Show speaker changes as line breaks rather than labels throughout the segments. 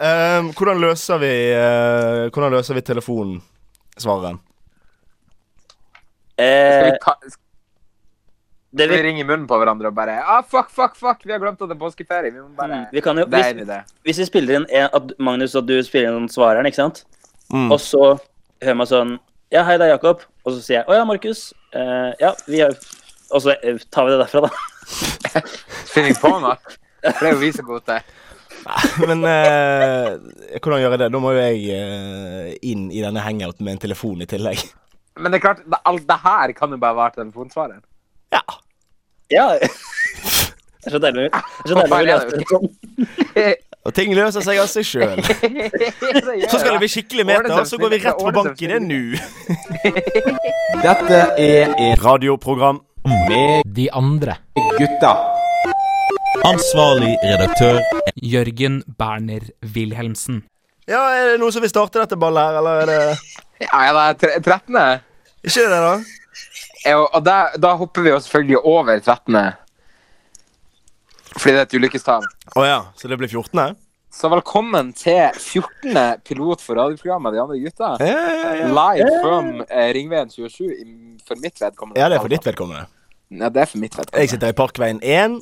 Ehm, hvordan løser vi eh, Hvordan løser vi telefonsvareren?
Skal
Eh,
vi, ta, skal
det
vi
vi,
ringe i munnen på hverandre og bare ah, Fuck, fuck, fuck, vi har glemt at det er påskeferie. Mm, Vi må bare
vi kan jo,
Det
hvis,
er vi det.
hvis vi spiller inn en, at Magnus og du spiller inn svareren, ikke sant?
Mm.
Og så hører man sånn Ja, hei, det er Jakob. Og så sier jeg Å ja, Markus. Eh, ja, vi har Og så eh, tar vi det derfra, da.
Finner jeg på noe? For det er jo vi som er gode til.
Men eh, hvordan gjør jeg det? Da må jo jeg eh, inn i denne hangouten med en telefon i tillegg.
Men det er klart, det, alt det her kan jo bare være telefonsvareren.
Ja.
Ja. Det er så deilig det er så deilig å lese det sånn.
Og ting løser seg av seg sjøl. Så skal det bli skikkelig meter, og så går vi rett på banken i det nå.
Dette er en
Radioprogram.
med
De andre.
gutta.
Ansvarlig redaktør
Jørgen Berner Wilhelmsen.
Ja, er det noen som vil starte dette ballet her, eller er det
Ja, ja, det er tre- 13.
Ikke det, da?
Ja, Og og da, da hopper vi jo selvfølgelig over 13. Fordi det er et ulykkestall.
Å ja, så det blir 14. her?
Så velkommen til 14. pilot for radioprogrammet De andre gutta.
Ja, ja, ja.
Live from eh, Ringveien 27 i- for mitt vedkommende.
ja, det er for ditt vedkommende.
Ja, det er for mitt vedkommende.
Jeg sitter i Parkveien 1.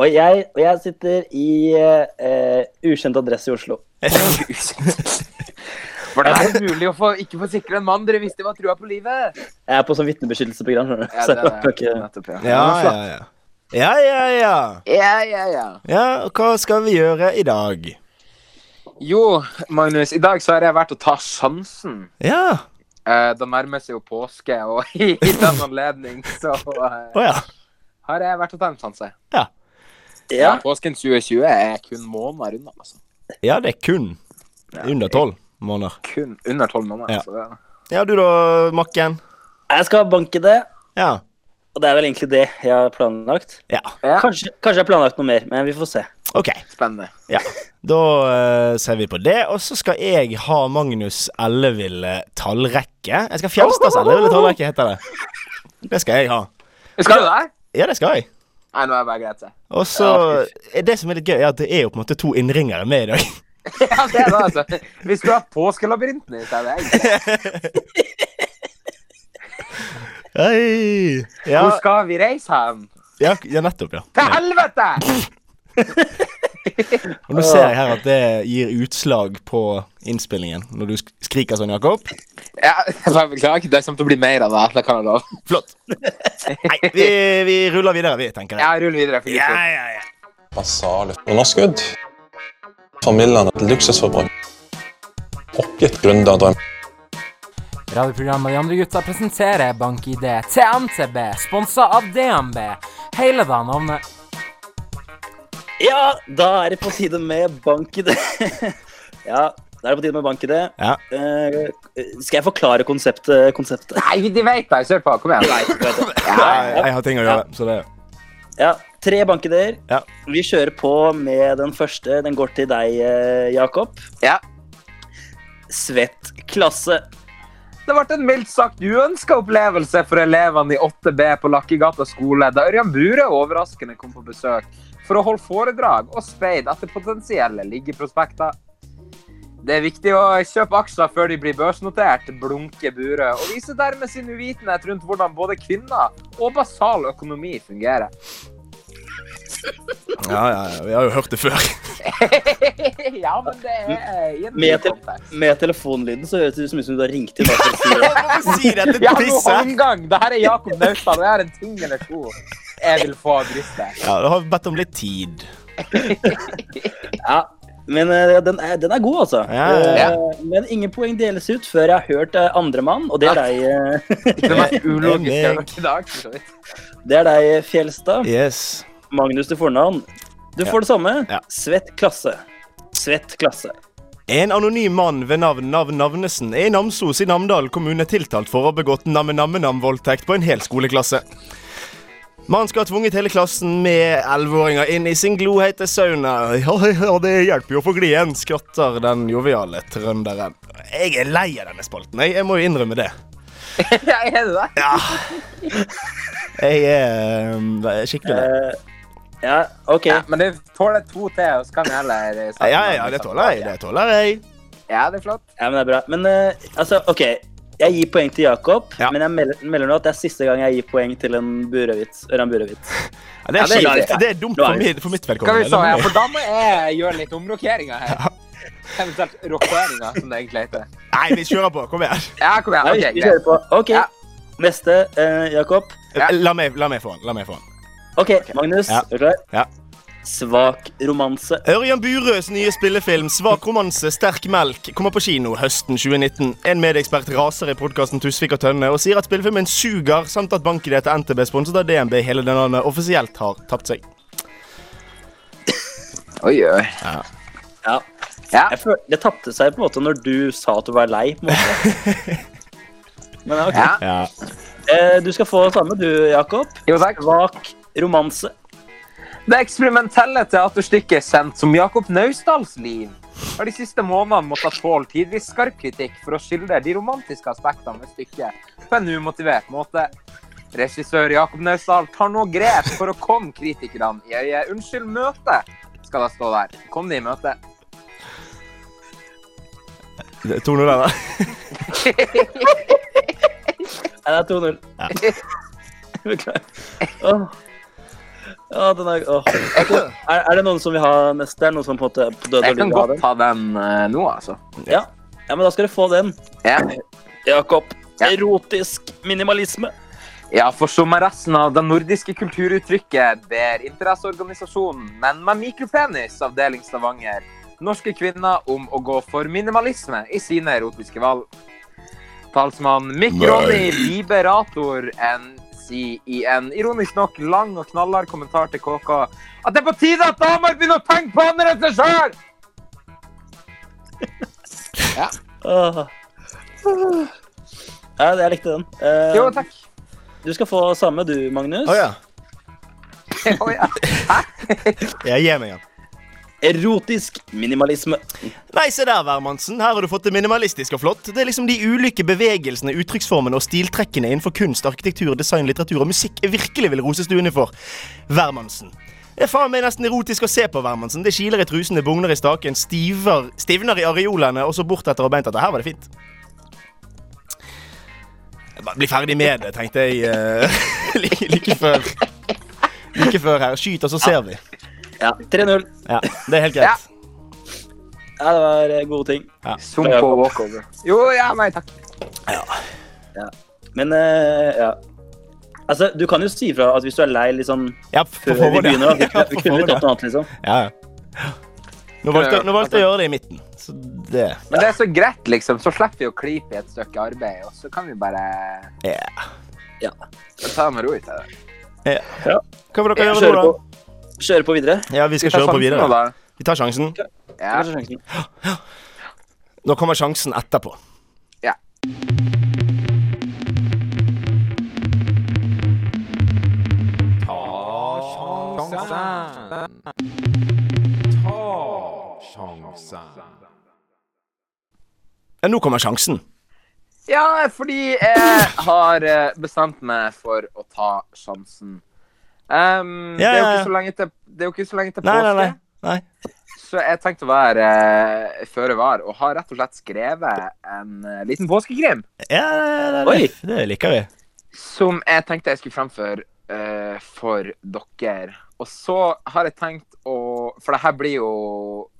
Og jeg, og jeg sitter i eh, ukjent adresse i Oslo.
Hvordan er det mulig å få, ikke få sikre en mann dere visste var trua på livet?
Jeg er på sånn vitnebeskyttelsesprogram. skjønner du.
Ja,
Så
det
jeg
er
kan ikke-
nettopp, ja.
Ja, ja, ja. Ja, ja, ja.
Ja, ja, ja.
Ja, og hva skal vi gjøre i dag?
Jo, Magnus, i dag så har jeg vært å ta sjansen.
Ja.
Eh, det nærmer seg jo påske, og i, i den anledning så eh,
Å ja.
har jeg vært å ta en sjanse.
Ja,
Påsken 2020 er kun måneder unna, altså.
Ja, det er kun under 12 måneder.
Kun under tolv måneder.
Ja.
altså, det er-
Ja, du da, Makken?
jeg skal banke det.
Ja.
Og det er vel egentlig det jeg har planlagt.
Ja.
Ja.
Kanskje, kanskje jeg har planlagt noe mer, men vi får se.
OK.
Spennende.
Da eh, ser vi på det, og så skal jeg ha Magnus Elleville tallrekke. Jeg skal Fjelstads Elleville tallrekke, heter det. Det skal jeg ha.
Skal du der?
Ja, det skal jeg.
Nei, nå er jeg bare greit, jeg.
Og så er Det som er litt gøy, er at det er jo på en måte to innringere med i dag.
Ja, det er det, altså. Vi skulle hatt påskelabyrinten i stedet. egentlig.
Hei. Ja,
Hvor skal vi reise hen?
ja, ja, nettopp, ja.
Til helvete!
Og nå ser jeg her at det gir utslag på innspillingen, når du sk- skriker sånn, Jakob.
Ja, jeg bare beklager. Det kommer til å bli mer av det. Det kan jeg love.
Flott. Nei, vi, vi ruller videre, vi, tenker jeg.
Ja, rull videre. for guds skyld.
Basale underskudd. Familiene et luksusforbruk. Pocket gründerdrøm.
Radioprogrammet De andre gutta presenterer BankID til NTB, sponsa av DNB. Hele da navnet.
Ja, da er det på tide med bank-ID. ja, da er det på tide med bank-ID.
Ja.
Eh, skal jeg forklare konseptet? konseptet?
Nei, de vet det. Kjør på. Kom igjen.
Nei, ikke vet jeg.
Jeg, jeg har ting å gjøre, så det
ja, tre bank-ID-er.
Ja.
Vi kjører på med den første. Den går til deg, eh, Jakob.
Ja.
Svett klasse.
Det ble en mildt sagt uønska opplevelse for elevene i 8B på Lakkegata skole, da Ørjan Bure overraskende kom på besøk for å holde foredrag og speid etter potensielle liggeprospekter. Det er viktig å kjøpe aksjer før de blir børsnotert, blunker Bure, og viser dermed sin uvitenhet rundt hvordan både kvinner og basal økonomi fungerer.
Ja, ja, ja. Vi har jo hørt det før.
ja, men det er i en
Med
ny
til-
kontekst.
Med telefonlyden så høres det ut som om du har ringt inn. bare for å si det.
Hvorfor si dette
Ja, nå omgang! Det her er Jakob Naustdal, og jeg har en ting eller to jeg vil få av brystet.
Ja, du har bedt om litt tid.
Ja, men eh, den, er, den er god, altså.
Ja, ja, ja.
Eh, men ingen poeng deles ut før jeg har hørt eh, andremann, og det er deg, eh,
Det mest ulogiske jeg
meg.
har hørt i dag. for så vidt.
det er deg Fjelstad.
Yes.
Magnus til fornavn. Du får det samme.
Ja.
Svett klasse. Svett klasse.
En anonym mann ved navn Navn Navnesen er i Namsos i Namdal kommune tiltalt for å ha begått namme-namme-nam-voldtekt på en hel skoleklasse. Man skal ha tvunget hele klassen med elleveåringer inn i sin glohete sauna. Ja, ja, det hjelper jo å få gli igjen, skratter den joviale trønderen. Jeg er lei av denne spalten, jeg, jeg må jo innrømme det.
Ja, er det det?
Jeg er eh, um, skikkelig lei.
Eh, Ja, OK.
Ja, men du tåler to til, og så kan vi heller eh,
Ja,
snakke
ja,
om
ja,
andre
det
saker.
tåler jeg. Det tåler jeg.
Ja, det er flott.
Ja, men det er bra. Men eh, altså, OK. Jeg gir poeng til Jakob,
Ja.
men jeg melder, melder nå at det er siste gang jeg gir poeng til en burøvits. Ørjan Burøvits.
Ja, det, er
Ja, det er
kjipt.
riktig.
det er dumt
Nå er
for
vi-
mitt, for mitt
Skal vi
vedkommende.
se,
Det
ja,
må-
for da må jeg gjøre litt omrokeringer her. Eventuelt rokeringer, som det egentlig heter.
Nei, vi kjører på. Kom igjen.
Ja, kom igjen.
Ja, vi-
Ok,
vi
greit.
kjører på. OK.
Ja.
Neste, eh, Jakob.
Ja.
La meg, la meg få den. la meg få den.
OK, Magnus.
Ja.
Er du klar?
Ja.
Svak romanse.
Ørjan Burøes nye spillefilm 'Svak romanse, sterk melk' kommer på kino høsten 2019. En medieekspert raser i podkasten Tusvik og Tønne og sier at spillefilmen suger, samt at bank-ID til NTB, sponset av DNB, hele det landet, offisielt har tapt seg.
Oi, oi.
Ja.
Ja.
Jeg føl det tapte seg på en måte når du sa at du var lei. på en måte. Men ja, ok.
Ja.
Ja.
Eh, du skal få samme, du, Jakob.
Jo, takk.
Svak romanse.
Det eksperimentelle teaterstykket sendt som Jakob Naustdals liv har de siste månedene måttet tåle tidvis skarp kritikk for å skildre de romantiske aspektene ved stykket på en umotivert måte. Regissør Jakob Naustdal tar nå grep for å komme kritikerne i øyet. Unnskyld, møte, skal det stå der. Kom de i møte.
To nå der, da.
Nei, det er 2-0.
Ja.
Beklager. Åh. Ja, den er, åh. Ok, er, er det noen som vil ha neste? Er det noen som på en måte på død
Jeg
og
kan
liv vil ha
godt
den?
ta den eh, nå, altså.
Ja. ja, men da skal du få den.
Ja.
Jakob.
Ja.
Erotisk minimalisme.
Ja, for som med resten av det nordiske kulturuttrykket ber interesseorganisasjonen Men med mikropenis, avdeling Stavanger, norske kvinner om å gå for minimalisme i sine erotiske valg. Talsmann Mick Ronny Liberator N sier i en ironisk nok lang og knallhard kommentar til KK at det er på tide at damer begynner å tenke på andre enn seg sjøl!
Åh. Ja, jeg likte den. Eh,
Jo, takk.
Du skal få samme du, Magnus.
Å ja.
Å, ja.
Jeg gir meg den.
Erotisk minimalisme.
Nei, se der, Wermansen. Her har du fått det minimalistisk og flott. Det er liksom de ulike bevegelsene, uttrykksformene og stiltrekkene innenfor kunst, arkitektur, design, litteratur og musikk jeg virkelig vil rose stuene for. Wermansen. Det er faen meg nesten erotisk å se på, Wermansen. Det kiler i trusen, det bugner i staken, stiver, stivner i areolene, og så bortetter og beint etter. Her var det fint. Jeg bare blir ferdig med det, tenkte jeg eh, like, like før. Like før her. Skyt, og så ser vi.
Ja, 3-0.
Ja, Det er helt greit.
Ja, det var eh, gode ting.
Som på walkover. Jo, ja, nei, takk.
Men eh, ja. Altså, du kan jo si fra at hvis du er lei litt sånn
Ja, på
før vi
forhånd, ja.
begynner. Da.
Ja,
Vi, kunne- vi
på
kunne
forhånd, ja.
tatt noe annet, liksom.
Ja, ja. Nå valgte, nå valgte jeg å gjøre det i midten. Så det
Men det er så greit, liksom. Så slipper vi å klype i et stykke arbeid, og så kan vi bare
yeah.
ta det med ro. i stedet.
Hva vil dere
Ja,
gjøre
Kjøre
nå,
på. Kjøre på videre.
da? Ja, Vi skal
ta
kjøre på
sjansen nå,
videre.
da.
Vi tar sjansen.
Ja.
Kanskje sjansen.
Nå kommer sjansen etterpå.
Ja.
Ja, nå kommer sjansen.
ja, fordi jeg har eh, bestemt meg for å ta sjansen.
Ja,
Ehm, det,
ja,
er jo
ja.
ikke så lenge til, det er jo ikke så lenge til
Nei, nei,
påske,
nei. nei.
så jeg tenkte å være eh, føre var og har rett og slett skrevet en eh, liten påskekrim
Ja, det, det,
Oi.
det, det liker vi.
som jeg tenkte jeg skulle fremføre eh, for dere. Og så har jeg tenkt å For det her blir jo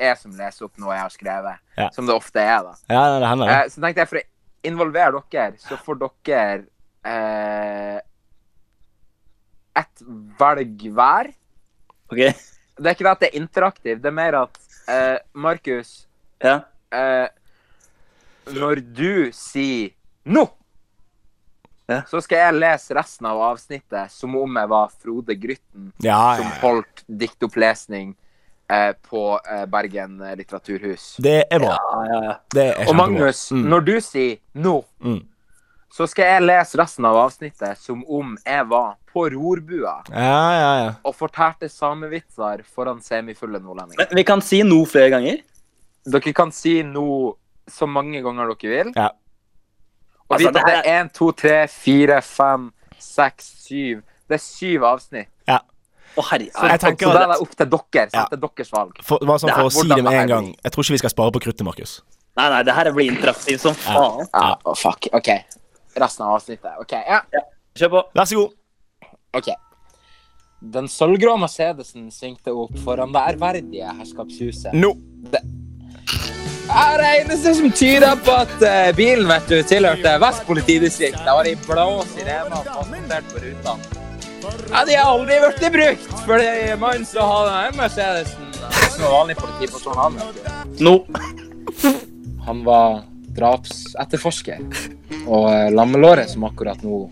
jeg som leser opp noe jeg har skrevet,
Ja.
som det ofte er, da.
Ja, det, det hender, det.
Eh, så tenkte jeg for å involvere dere, så får dere eh, et valg hver.
OK.
Det er ikke det at det er interaktivt, det er mer at eh, Markus
Ja.
eh, Når du sier 'nå',
Ja.
så skal jeg lese resten av avsnittet som om jeg var Frode Grytten
Ja, ja,
som
ja.
holdt diktopplesning eh, på eh, Bergen litteraturhus.
Det er bra.
Ja, ja, ja.
Det er
Og
kjempebra.
Magnus,
Mm.
når du sier 'nå',
Mm.
så skal jeg lese resten av avsnittet som om jeg var på rorbua
Ja, ja, ja.
og fortalte samevitser foran semifulle nordlendinger.
Men vi kan si no flere ganger.
Dere kan si 'nå' så mange ganger dere vil.
Ja.
Og
Altså,
vit
det
at
her
det er 1, 2, 3, 4, 5, 6, 7 Det er syv avsnitt.
Ja.
Å, herre...
Så,
Jeg
så
tenker
det
at-
er opp til dere.
Ja.
Sant? Det er deres valg.
For, bare sånn
Det er
for å si
hvordan
det med
det er.
en gang. Jeg tror ikke vi skal spare på kruttet, Markus.
Nei, nei, det her blir interaktivt som faen.
Ja, å, fuck. OK. Resten av avsnittet. OK. Ja.
Kjør på.
Vær så god.
Ok. Den sølvgrå Mercedesen svingte opp foran det ærverdige herskapshuset.
Nå.
Er det eneste som tyder på at eh, bilen vet du, tilhørte Vest politidistrikt. Da var de blå sirenene fastmontert på ruta. Ja, de har aldri blitt brukt, fordi mannen som hadde den Mercedesen, han var ikke noen vanlig politiperson, han. vet du.
Nå.
Han var drapsetterforsker, og eh, lammelåret som akkurat nå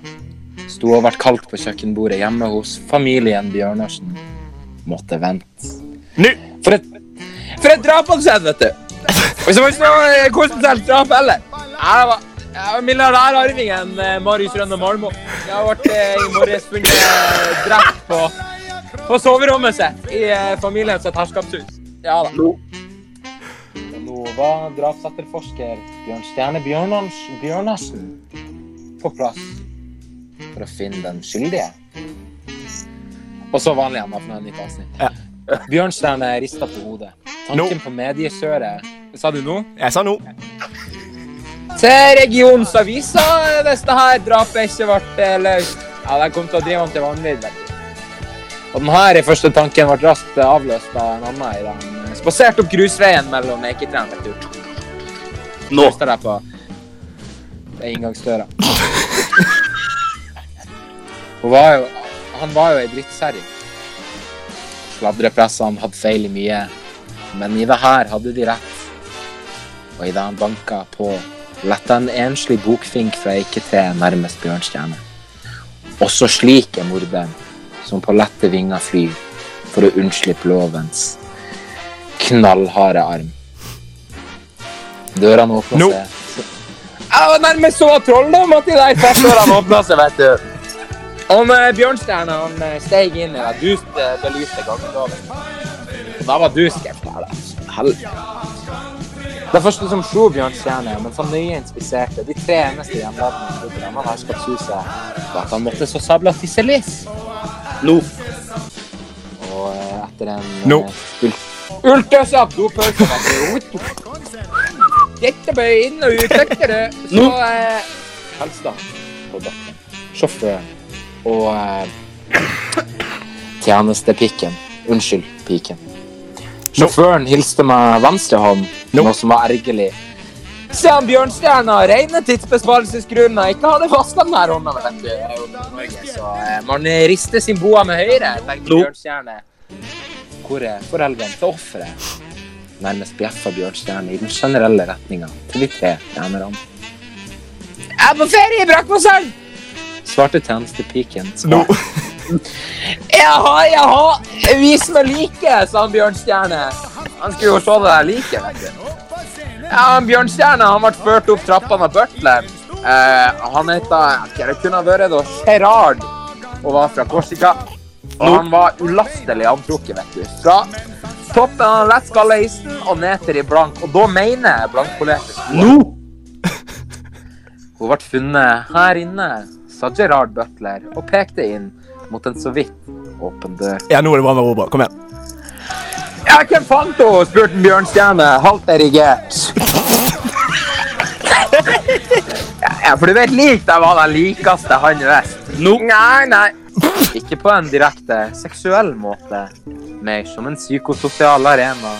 sto og ble kaldt på kjøkkenbordet hjemme hos familien Bjørnarsen, måtte vente.
Nå.
For et, for et drap han skjedde, vet du. Og så var det ikke noe eh, konsentrert drap heller. Nei, det var, det var milliardærarvingen eh, Marius Rønne Malmo. Jeg ble eh, i morges funnet eh, drept på, på soverommet sitt i eh, familiens sitt herskapshus. Ja da. Og nå var drapsetterforsker Bjørn Stjerne Bjørnars, Bjørnarsen på plass for å finne den skyldige. Og så vanlig igjen, da, for nå er det nytt avsnitt. Bjørnstjerne rista på hodet. Tanken
Nå.
på mediekjøret Sa du nå?
Jeg sa nå.
Til regionsavisa eh, hvis det her drapet ikke ble eh, løst. Ja, den kom til å drive han til vanvidd. vet du. Og den her første tanken ble raskt eh, avløst av en annen i den eh, spaserte opp grusveien mellom Eiketrærne. vet du.
Nå.
Kasta deg på det inngangsdøra. Hun var jo Han var jo ei drittkjerring. Sladrepressene hadde feil i mye, men i det her hadde de rett. Og idet han banka på, letta en enslig bokfink fra eiketreet nærmest Bjørnstjerne. Også slik er morderen, som på lette vinger flyr for å unnslippe lovens knallharde arm. Dørene åpna
Nå.
seg. Jeg var nærmest så trolldom at de der fettdørene åpna seg, vet du. Han eh, Bjørnstjerne han eh, steg inn i den dust eh, belyste gangen. Da var du skeptisk. altså. Helvete. Det første som slo Bjørn Stjerne, mens han nøye inspiserte de tre eneste hjemladene i klubben av herskapshuset, var at han måtte så sabla tisselis.
Nå.
Og eh, etter en
Nå.
eh, ul- ultrasatt dopølse var det ut. Dette ble inn og ut, tenkte du. Så
Nå.
eh, Helstad på bakken. Sjåføren og eh, tjenestepiken. Unnskyld, piken. Sjåføren hilste med venstre hånd,
Nå.
noe som var ergerlig. Siden Bjørnstjerna av rene tidsbesparelsesgrunner ikke hadde vaska den her hånda, vet du. Det er jo Norge, så eh, man rister sin boa med høyre, tenkte
Nå.
Bjørnstjerne. Hvor er foreldrene til offeret? Nærmest bjeffa Bjørnstjerne i den generelle retninga til de tre tjenerne. Jeg er på ferie i Brakkvassand! svarte tjenestepiken.
Nå.
Jaha, jaha! Vis meg liket, sa han Bjørnstjerne. Han skulle jo se det der liket, vet du. Ja, han Bjørnstjerne han ble ført opp trappene av butleren. Eh, han heta Hva det kunne ha vært, da? Gerard. Og var fra Korsika. Og han var ulastelig antrukket, vet du. Fra toppen av lettskallheisen og ned til de blank. Og da mener jeg blankpolerte sko.
Nå.
Hun ble funnet her inne, sa Gerard Butler og pekte inn mot en så vidt åpen dør.
Ja, nå er det bra med Robert. Kom igjen.
Ja, hvem fant henne? spurte en Bjørnstjerne, halvt erigert. ja, for du vet lik det var den likeste han visste.
Nå.
Nei, nei. Ikke på en direkte seksuell måte, mer som en psykososial arena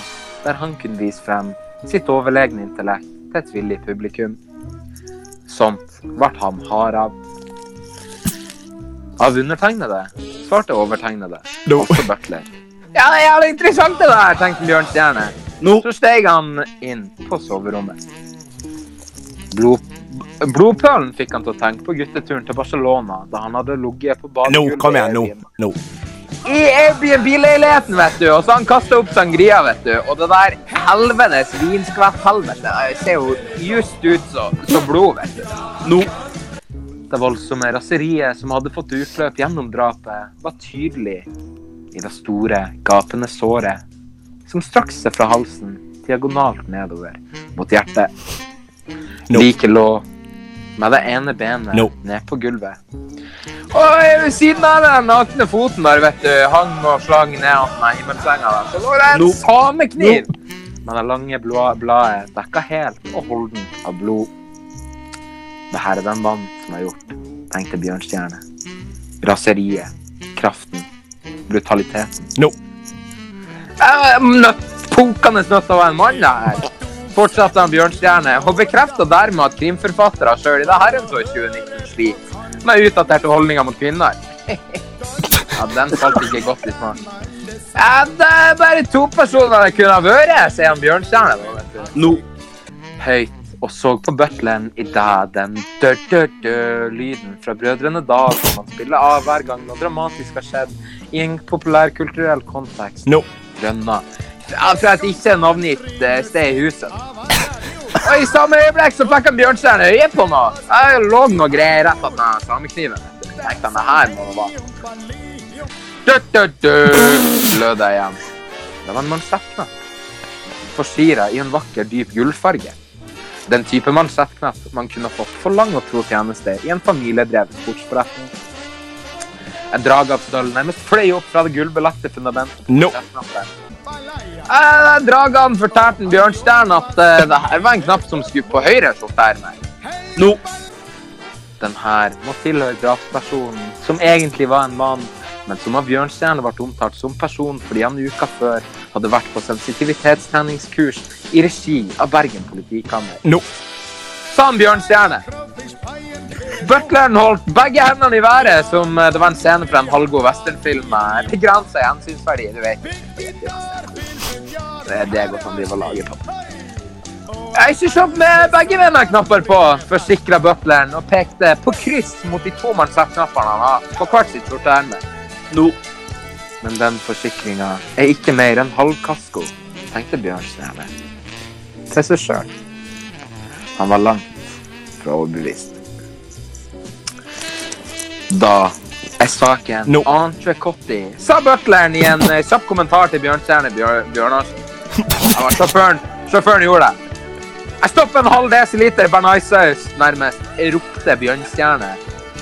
der han kunne vise frem sitt overlegne intellekt til et villig publikum. Sånt ble han hard av. Av undertegnede, svarte overtegnede,
Nå.
også butler. Ja, det er jævlig interessant det der, tenkte Bjørn Stjerne.
Nå.
Så steg han inn på soverommet. Blod, blodpølen fikk han til å tenke på gutteturen til Barcelona da han hadde ligget på
Nå,
badegulvet
kom igjen. Nå.
i Airbnb.
Nå.
I Airbnb-leiligheten, vet du. Og så han kasta opp sangria, vet du. Og det der helvetes vinskvett-helvete det ser jo just ut som som blod, vet du.
Nå.
Det voldsomme raseriet som hadde fått utløp gjennom drapet, var tydelig i det store, gapende såret som strakk seg fra halsen diagonalt nedover mot hjertet.
Nå.
Like lå med det ene benet
Nå.
ned på gulvet. Og ved siden av den nakne foten der, vet du, hang og slang ned at meg i himmelsenga der, så lå det en
No.
samekniv. Men det lange blå bladet dekka helt og holden av blod. Det her er den mannen som har gjort, tenkte Bjørnstjerne. Raseriet, kraften, brutaliteten.
No.
Eh, Nøtt, Punkende nøtt av en mann, det her. Fortsatte han Bjørnstjerne, og bekrefta dermed at krimforfattere sjøl i det herrens år 2019 sliter med utdaterte holdninger mot kvinner. Ja, den falt ikke godt i smak. Ja, det er bare to personer det kunne ha vært, sier han Bjørnstjerne. da, vet du.
No.
Høyt og så på butleren i dag den dø-dø-dø-lyden fra Brødrene Dal som man spiller av hver gang noe dramatisk har skjedd i en populærkulturell kontekst.
No.
Grønna. Ja, fra et ikke navngitt eh, sted i huset. Og i samme øyeblikk så fikk han Bjørnstjerne øye på noe. Jeg lå noe greier rett at den samekniven. Jeg tenkte han, det her må det være. Du-du-du, lød det igjen. Det var en mansettknapp. Forstira i en vakker, dyp gullfarge. Den type mansettknapp man kunne fått for lang og tro tjeneste i en familiedrevet sportsforretning. En dragavsdøl nærmest fløy opp fra det gullbelagte fundamentet.
No.
Eh, Dragan fortalte en Bjørnstjerne at eh, det her var en knapp som skulle på høyre skjorteerme.
No.
Den her må tilhøre drapspersonen, som egentlig var en mann, men som av Bjørnstjerne ble omtalt som person fordi han uka før hadde vært på sensitivitetstreningskurs i regi av Bergen politikammer.
No.
Sa han Bjørnstjerne. Butleren holdt begge hendene i været, som eh, det var en scene fra en halvgod westernfilm med begrensa gjensynsverdi, du vet. Det er det jeg godt han driver og lager på. Jeg synes opp med begge venner-knapper på, forsikret butleren og pekte på kryss mot de to mannsett-knappene han har på hvert sitt skjorteerme.
No.
Men den forsikringa er ikke mer enn halv kasko, tenkte Bjørnstjerne. Til seg sjøl. Han var langt fra overbevist. Da er saken
Nå.
entrecote, sa butleren i en eh, kjapp kommentar til Bjørnstjerne Bjør Bjørnarsen. Det var Sjåføren, sjåføren gjorde det. Jeg stopper en halv desiliter banaisaus, nærmest ropte Bjørnstjerne,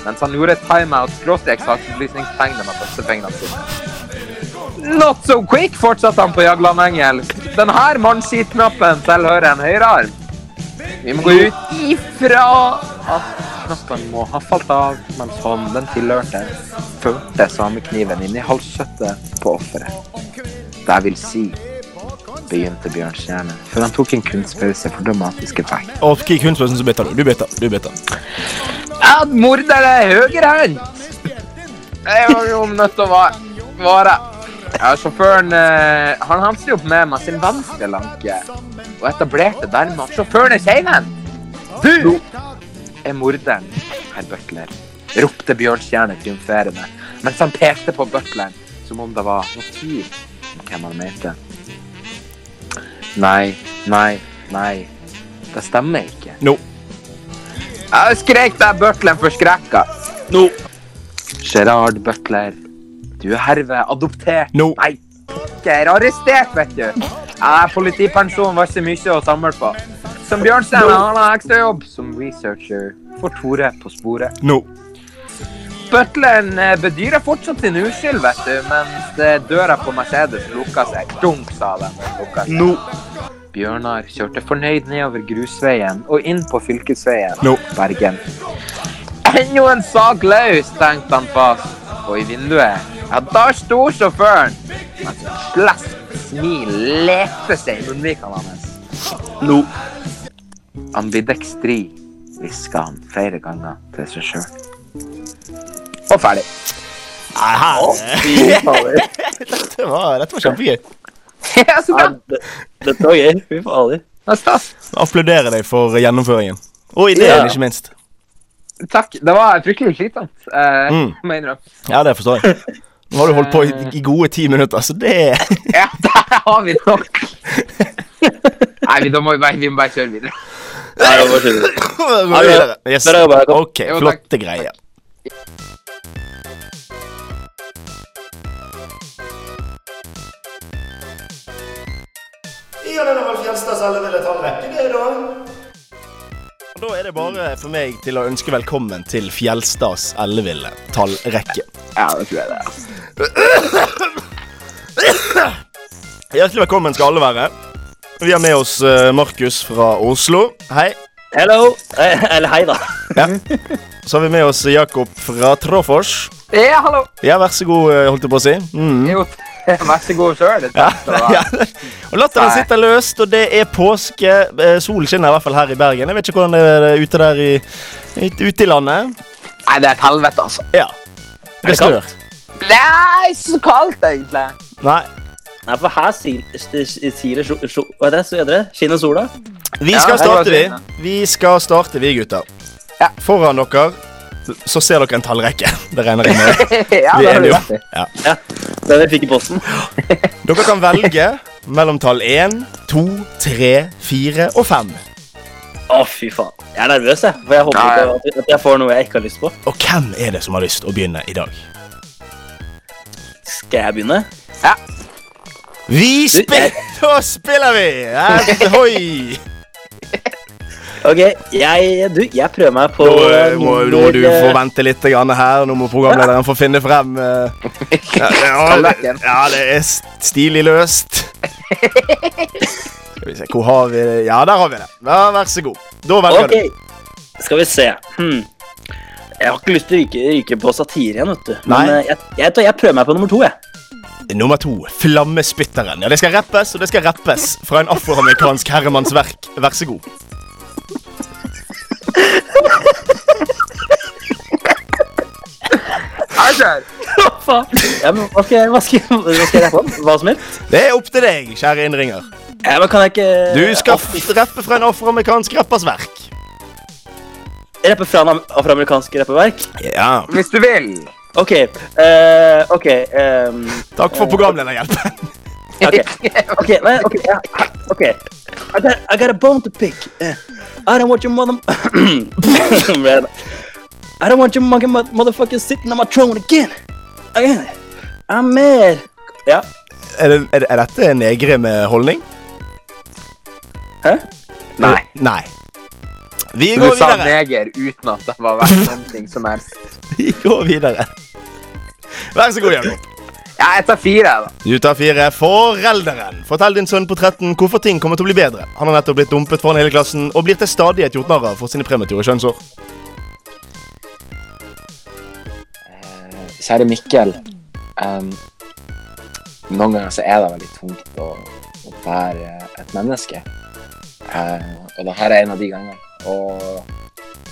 mens han gjorde timeout-saksopplysningstegnet med bøssefingrene sine. Not so quick, fortsatte han på Jagland engelsk. Denne mannskitknappen tilhører en høyrearm. Vi må gå ut ifra at knappen må ha falt av mens hånden tilhørte, førte samekniven inn i halskjøttet på offeret. Det vil si, begynte Bjørnstjerne, før han tok en kunstpause for dramatisk effekt.
Og kick hundspøsen, så bytter du. Du bytter. Du bytter.
At morder er høyrehendt! Det var jo nødt til å va- vare. Ja, sjåføren eh, han hamstret opp med med sin venstre lanke og etablerte dermed at sjåføren er keivhendt. Du er morderen, herr butler, ropte Bjørnstjerne triumferende mens han pekte på butleren som om det var noe tvil om hvem han mente. Nei, nei, nei. Det stemmer ikke.
No.
Jeg skrek deg butleren forskrekka.
No.
Gerard Butler, du er herved adoptert.
No.
Nei, pokker, arrestert, vet du. Ja, politipensjon var ikke mye å samle på. Som Bjørnstein han har ekstrajobb som researcher for Tore på sporet.
No.
Butleren eh, bedyrer fortsatt sin uskyld, vet du, mens eh, døra på Mercedes lukka seg. Dunk, sa den. og lukka seg.
No.
Bjørnar kjørte fornøyd nedover grusveien og inn på fylkesveien
No.
Bergen. Enda en sak løs, tenkte han fast. Og i vinduet, ja, der sto sjåføren. Mens et slest smil lekte seg i munnvikene hans.
No.
Ambidextri, hviska han flere ganger til seg sjøl. Og ferdig.
Det var, dette var kjempegøy.
Ja, så bra.
Ja, det- Dette var gøy. Fy fader.
Det er stas.
Applauderer deg for gjennomføringen. Og ideen,
Ja.
ikke minst.
Takk. Det var fryktelig slitsomt. Eh,
Mm.
må jeg innrømme.
Ja, det forstår jeg. Nå har du holdt på i, i gode ti minutter, så det
Ja, der har vi det nok. Nei, vi, da må vi, bare, vi må bare kjøre videre.
Nei, det var skikkelig.
Gå videre. Yes.
Bra jobba, Jakob.
Ok,
Jo, takk.
flotte greier.
Ja, det er vel Fjelstads alle vil ta en rekke, det, da.
Og Da er det bare for meg til å ønske velkommen til Fjelstads elleville tallrekke.
Ja, det tror jeg det. er.
Hjertelig velkommen skal alle være. Vi har med oss eh, Markus fra Oslo. Hei.
Hello! Eh, Eller hei, da.
Så har vi med oss Jakob fra Tråfors.
Ja, hallo!
Ja, vær så god, eh, holdt jeg på å si. Mm.
Jo, vær så god sjøl. Det er tøft å
Ja.
være.
Og latteren sitter løst, og det er påske. Eh, Solen skinner i hvert fall her i Bergen. Jeg vet ikke hvordan det er eh, ute der i, ut- ute i landet.
Nei, det er et helvete, altså.
Ja.
Er det kaldt?
Nei, så kaldt, egentlig.
Nei.
Nei, for her sil- st- st- siler sol... sol- Hva er det, så heter det? Skinner sola?
Vi
Ja,
skal
det var
starte, vi.
fint,
Vi skal starte, vi, gutter.
Ja.
Foran dere så ser dere en tallrekke. Det regner jeg med.
ja,
Vi
det
er
har du
enige
rett
om.
i.
Det vi fikk i posten.
Dere kan velge mellom tall 1, 2, 3, 4 og 5.
Å, fy faen. Jeg er nervøs, jeg. For jeg håper
Ja, ja.
ikke at- at jeg får noe jeg ikke har lyst på.
Og hvem er det som har lyst å begynne i dag?
Skal jeg begynne?
Vi spiller, så spiller vi! Eh, Hoi!
OK, jeg Du, jeg prøver meg på
Nå eh, må, nå må du
eh,
få vente litt grann her. Nå må programlederen få finne frem. eh, Ja, det, ja,
Tallrekken.
ja, det er st- stilig løst. Skal vi se, hvor har vi det? Ja, der har vi det. Ja, vær så god. Da velger
OK. Skal vi se. Hmm. Jeg har ikke lyst til å ryke, ryke på satire igjen, vet du. Men
Nei.
eh, jeg, jeg, tar- jeg prøver meg på nummer to, jeg.
du. Nummer to, Flammespytteren. Ja, Det skal rappes, og det skal rappes fra en afroamerikansk herremanns verk. Vær så god.
Ja, kjør.
Ja, men hva skal jeg, hva skal jeg, hva skal jeg rappe om? Hva som helst?
Det er opp til deg, kjære innringer.
Ja, men kan jeg ikke
Du skal f- rappe fra en afroamerikansk rappers verk.
rappe fra en am- afroamerikansk rappeverk?
Ja.
Hvis du vil.
OK. eh, OK. ehm,
Takk for programlederhjelpen.
Okay. Okay, well, okay, yeah, okay. I got, I got a bone to pick. Uh, I don't want your mother. Man, I don't want your monkey mo- motherfucker sitting on my throne again. Again. I'm mad. Ja.
Er, det, er, det- er dette negre med holdning?
Hæ?
Nei.
Nei. Vi
Du
går
sa
videre.
neger uten at det var verdt noen ting som helst.
Vi går videre. Vær så god, Jakob.
Ja, jeg tar fire, da.
Du tar fire. Forelderen. Fortell din sønn på 13 hvorfor ting kommer til å bli bedre. Han har nettopp blitt dumpet foran hele klassen og blir til stadighet gjort narr av for sine premature kjønnsår.
Kjære Mikkel. em, noen ganger så er det veldig tungt å, å være et menneske. Eh, og det her er en av de gangene. Og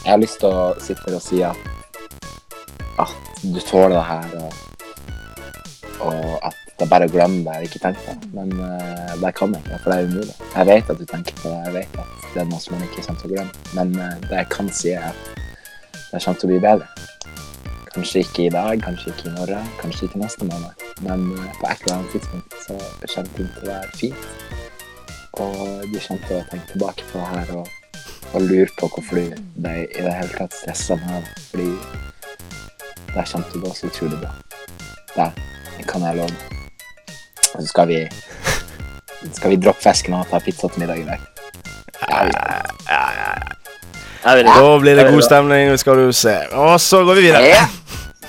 jeg har lyst til å sitte her og si at, at du tåler det her, og, og at det er bare å glemme det eller ikke tenke på det. Men eh, det kan jeg ikke, for det er umulig. Jeg vet at du tenker på det, jeg vet at det er noe som man ikke kommer til å glemme. Men eh, det jeg kan si, er at det kommer til å bli bedre. Kanskje ikke i dag, kanskje ikke i morgen, kanskje ikke neste måned. Men eh, på et eller annet tidspunkt så kommer ting til å være fint. Og du kommer til å tenke tilbake på det her og, og lure på hvorfor du ble i det hele tatt stressa med det. Fordi det kommer til å gå så utrolig bra. Det kan jeg love. Og så skal vi skal vi droppe fisken og ta pizza til middag i dag. Ja, vi skal.
Jeg vil,
Da blir det god stemning, skal du se. Og så går vi videre.
Ja.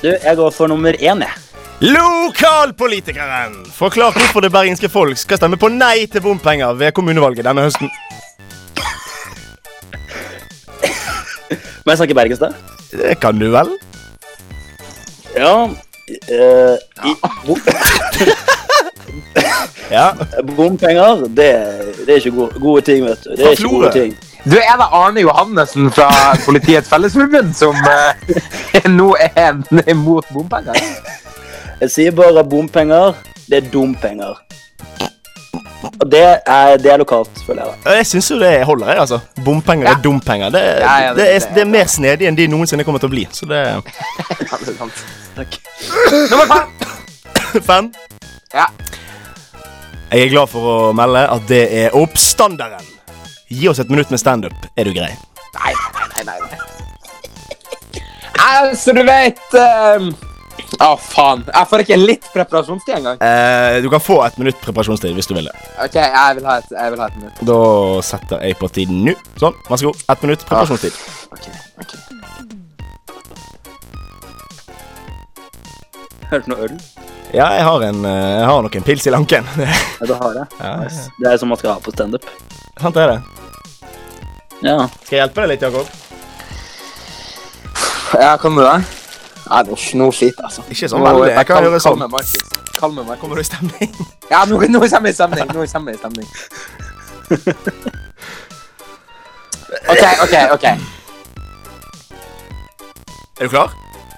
du, jeg går for nummer én, jeg.
Lokalpolitikeren! Forklar hvorfor det bergenske folk skal stemme på nei til bompenger ved kommunevalget denne høsten.
Må jeg snakke bergensk, da?
Det kan du vel?
Ja. eh, i, bom,
Ja.
bompenger, det, det er ikke gode, gode ting, vet du. Det
Fra
er ikke
Florø.
gode ting.
Du, er det Arne Johannessen fra Politiets Fellesforbund som eh, nå er imot bompenger?
Jeg sier bare bompenger. Det er dumpenger. Og det er, det er lokalt, føler jeg. da.
Ja, Jeg syns jo det holder, jeg, altså. Bompenger er dumpenger. Det,
Ja, ja, det-
det, er,
det-
det er mer snedig enn de noensinne kommer til å bli. Så det er
Ja, det er sant.
Takk.
Nummer fem.
Fem.
Ja.
Jeg er glad for å melde at det er oppstanderen. Gi oss et minutt med standup. Er du grei?
Nei, nei, nei, nei. nei. Altså, du vet ehm, Å, faen. Jeg får ikke litt preparasjonstid engang.
Eh, du kan få et minutt preparasjonstid hvis du vil det.
OK, jeg vil ha et, jeg vil ha et minutt.
Da setter jeg på tiden nå. Sånn, vær så god. Ett minutt preparasjonstid.
Ok, ok.
Har du noe øl?
Ah.
Ja, jeg har, en, eh, jeg har nok en pils i lanken.
Ja, det har jeg.
ja,
Nice. Det er som man skal ha på standup.
sant er det.
Ja.
Skal jeg hjelpe deg litt, Jakob?
Ja, kan du det? Nei, nå, nå skit, altså.
Ikke sånn veldig. Jeg kan gjøre sånn.
Kall meg Markus.
Kommer du i stemning?
Ja, nå, nå kommer jeg i stemning. Nå kommer jeg i stemning. OK, OK, OK.
Er du klar?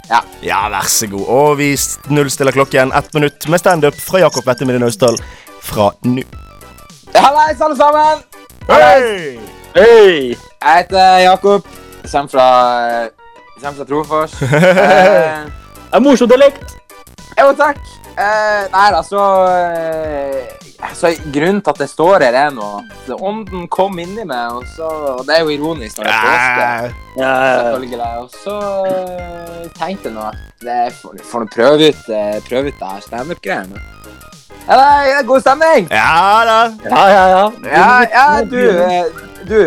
Ja.
Ja, vær så god. Og vi s- nullstiller klokken. Ett minutt med standup fra Jakob Vettemidden Austdal fra nå.
Hallais, alle sammen!
Hei!
Hei!
Jeg heter Jakob. Jeg Kommer fra jeg Kommer fra Trofors. Eh,
Det er morsom dialekt!
jo, takk. Eh, nei da, så eh, altså, Grunnen til at det står her, er nå at ånden kom inni meg, og så Og det er jo ironisk. når det er påske.
Ja.
Ja,
Selvfølgelig. Og så eh, tenkte jeg nå at det er- får får nå prøve ut, eh, prøve ut det her standup-greiene. Ja, det er- det er god stemning!
ja da.
ja, ja. ja.
Ja, ja, du eh, Du,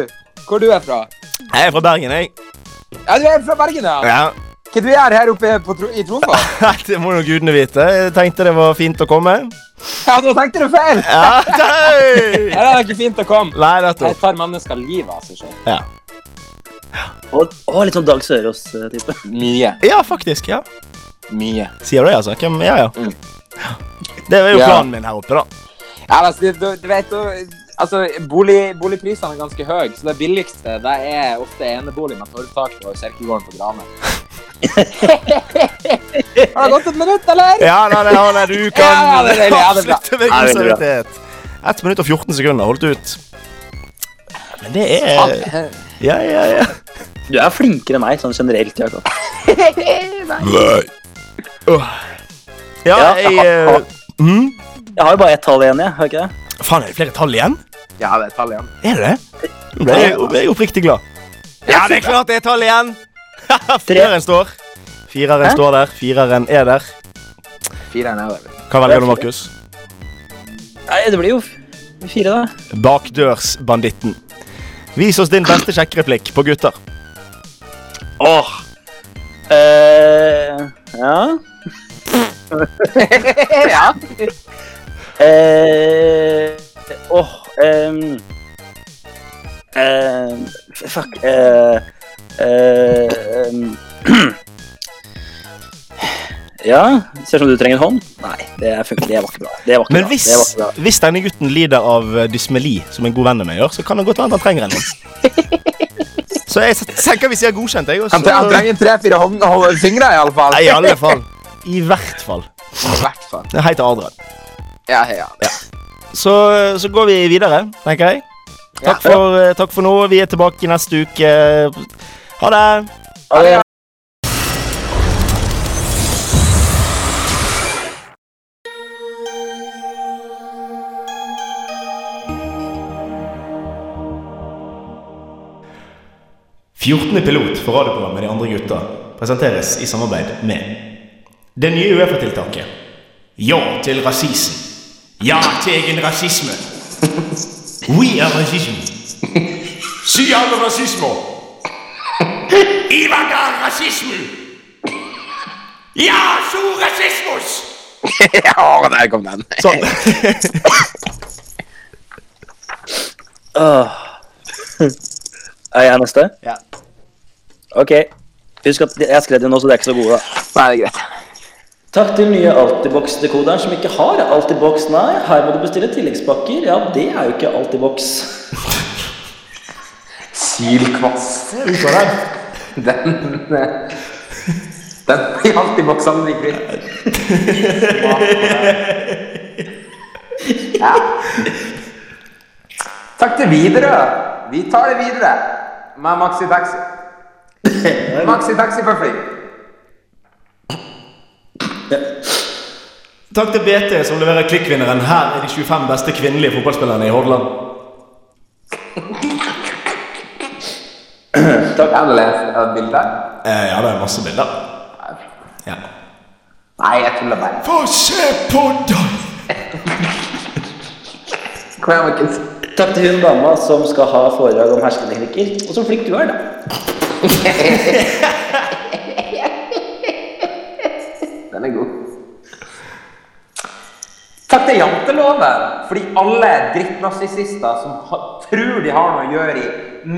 hvor du er fra?
Jeg er fra Bergen, jeg.
Ja, du er fra Bergen, ja?
Ja.
Hva du gjør her oppe på, Tro- i Tromsø?
Det må nå gudene vite. Jeg tenkte det var fint å komme.
Ja, da tenkte du feil!
Ja, hei!
Ja, det er ikke fint å komme.
Nei, nettopp.
Her tar mennesker livet av seg selv.
Ja.
Og, og litt sånn Dag Sørås-type.
Mye.
ja, faktisk. ja.
Mye.
Sier du det, altså? Hvem? Ja, ja. Det var jo
Mm. Ja.
planen min her oppe, da.
Ja, altså, du, du vet jo Altså, bolig, boligprisene er ganske høye, så det billigste det er ofte enebolig med torvtak på kirkegården på Grane. Har det gått et minutt, eller?
Ja, nei, nei, nei, nei, du kan
Ja, ja, det er deilig, ja, det er bra.
avslutte med god
Ja, det er bra.
samvittighet. 1 minutt og 14 sekunder holdt ut. Men det er
Ja.
Ja, ja, ja.
Du er flinkere enn meg sånn generelt, Jakob.
Ja,
Ja.
jeg eh, mm?
Jeg har jo bare ett tall igjen, jeg. Har jeg ikke det?
Faen, er det flere tall igjen?
ja, det er tallet igjen.
Er det det? Nå ble jeg, nå ble jeg oppriktig glad. Ja, det er klart det er tall igjen! Fireren står. Fireren
Hæ?
står der. Fireren er der.
Fire er nedover.
Hva velger du, Markus?
Nei, det blir jo f- fire, da.
Bakdørsbanditten. Vis oss din beste sjekkereplikk på gutter.
Åh. Eh, ja
ja.
Eh, Åh. em, em, f- fuck. eh, eh, em. ja, ser ut som du trenger en hånd. Nei, det funker. Det var ikke bra. Det var ikke
Men
bra.
hvis,
Det var ikke bra.
hvis denne gutten lider av eh, dysmeli, som en god venn av meg gjør, så kan det godt være at han trenger en. Så jeg s- tenker vi sier godkjent, jeg. og
Han, tre, han
så-
trenger tre-fire hånd- hånd- fingre, i alle fall.
Nei, I alle fall. I hvert fall.
I hvert fall.
Det er Hei til Adrian.
Ja, ja.
Så, eh, så går vi videre, tenker jeg.
Ja.
Takk for, eh, takk for nå. Vi er tilbake neste uke. Ha det.
Ha det.
pilot for radioprogrammet De andre gutta presenteres i samarbeid med det nye Uefa-tiltaket Ja til rasisme. Ja til egen rasisme. We are rasisme. Si alle rasisme. Ivaga rasisme. Ja, så rasismus!
Ja, der kom den.
Sånn.
Åh. Er jeg neste?
Ja.
Ok. Husk at jeg skrev det nå, så det er ikke så gode. da.
Nei, det er greit.
Takk til nye Altibox-dekoderen som ikke har Altibox, nei. Her må du bestille tilleggspakker. Ja, det er jo ikke Altibox.
Silkvass.
Ut av den.
Den eh, Den blir alltid boksende i kvitt. Ja. Takk til Widerøe. Vi tar det videre med Maxi Taxi. Maxi Taxi for fly.
Takk til BT, som leverer klikkvinneren. Her er de 25 beste kvinnelige fotballspillerne i Hordaland.
Kan du lese et bilde?
Eh, ja, det er masse bilder. Ja.
Nei, jeg tuller bare.
Få se på deg!
Kom igjen, Markus.
Takk til hun dama som skal ha foredrag om hersketeknikker. Og så flink du er, da.
Den er god. Takk til janteloven, fordi alle drittnarsissister som ha- tror de har noe å gjøre i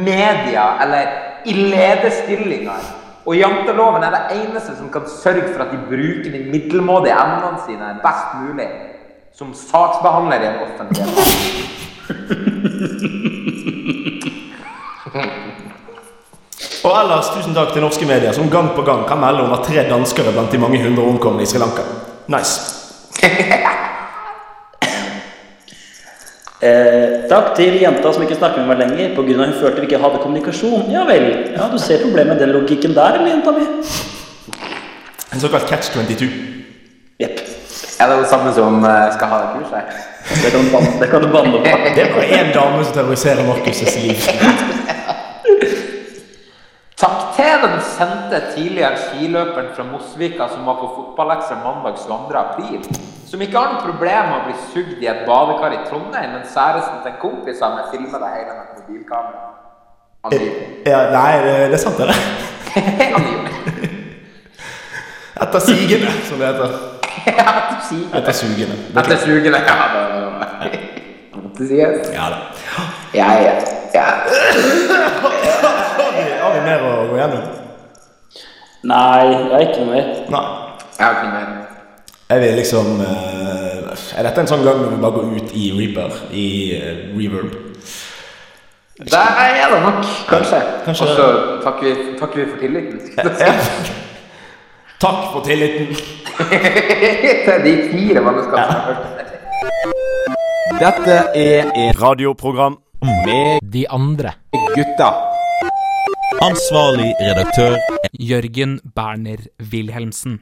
media eller i lederstillinger. Og janteloven er det eneste som kan sørge for at de bruker de middelmådige emnene sine best mulig som saksbehandler i en offentlig etat.
Og ellers tusen takk til norske medier som gang på gang kan melde om at tre danskere blant de mange hundre omkomne i Sri Lanka. Nice.
Eh, takk til jenta som ikke snakker med meg lenger pga. hun følte vi ikke hadde kommunikasjon. Ja vel. Ja, du ser problemet med den logikken der, eller, jenta mi?
En såkalt catch 22.
Jepp.
Er det det samme som eh, skal ha det kurset?
Det kan du banne- det kan du banne på.
Det er bare én dame som terroriserer Markus' liv.
Takk til den sendte tidligere skiløperen fra Mosvika som var på fotballekser mandag 22. april, som ikke har noe problem med å bli sugd i et badekar i Trondheim, men kjæresten til en kompis av meg filmer det hele med et mobilkamera. Angivelig.
Ja, nei, det, det er sant, det der.
Angivelig.
Etter sigende, som det heter.
Ja, du sier det.
Etter sugende.
Dette er sugende. Ja, det var det. Det sier jeg.
Ja da.
Ja, ja, ja.
Har vi, har vi mer å gå gjennom?
Nei, jeg er ikke noe mer.
Nei.
Jeg har ikke mer.
Jeg vil liksom eh, Er dette en sånn gang hvor vi bare går ut i reaper? I eh, reverb?
Der er det nok, kanskje.
Kanskje
Og så takker vi, takker vi for tilliten.
Eh, Takk for tilliten.
Til de fire mannskapene som har hørt.
Dette er et
Radioprogram.
med
De andre.
gutta.
Ansvarlig redaktør
Jørgen Berner Wilhelmsen.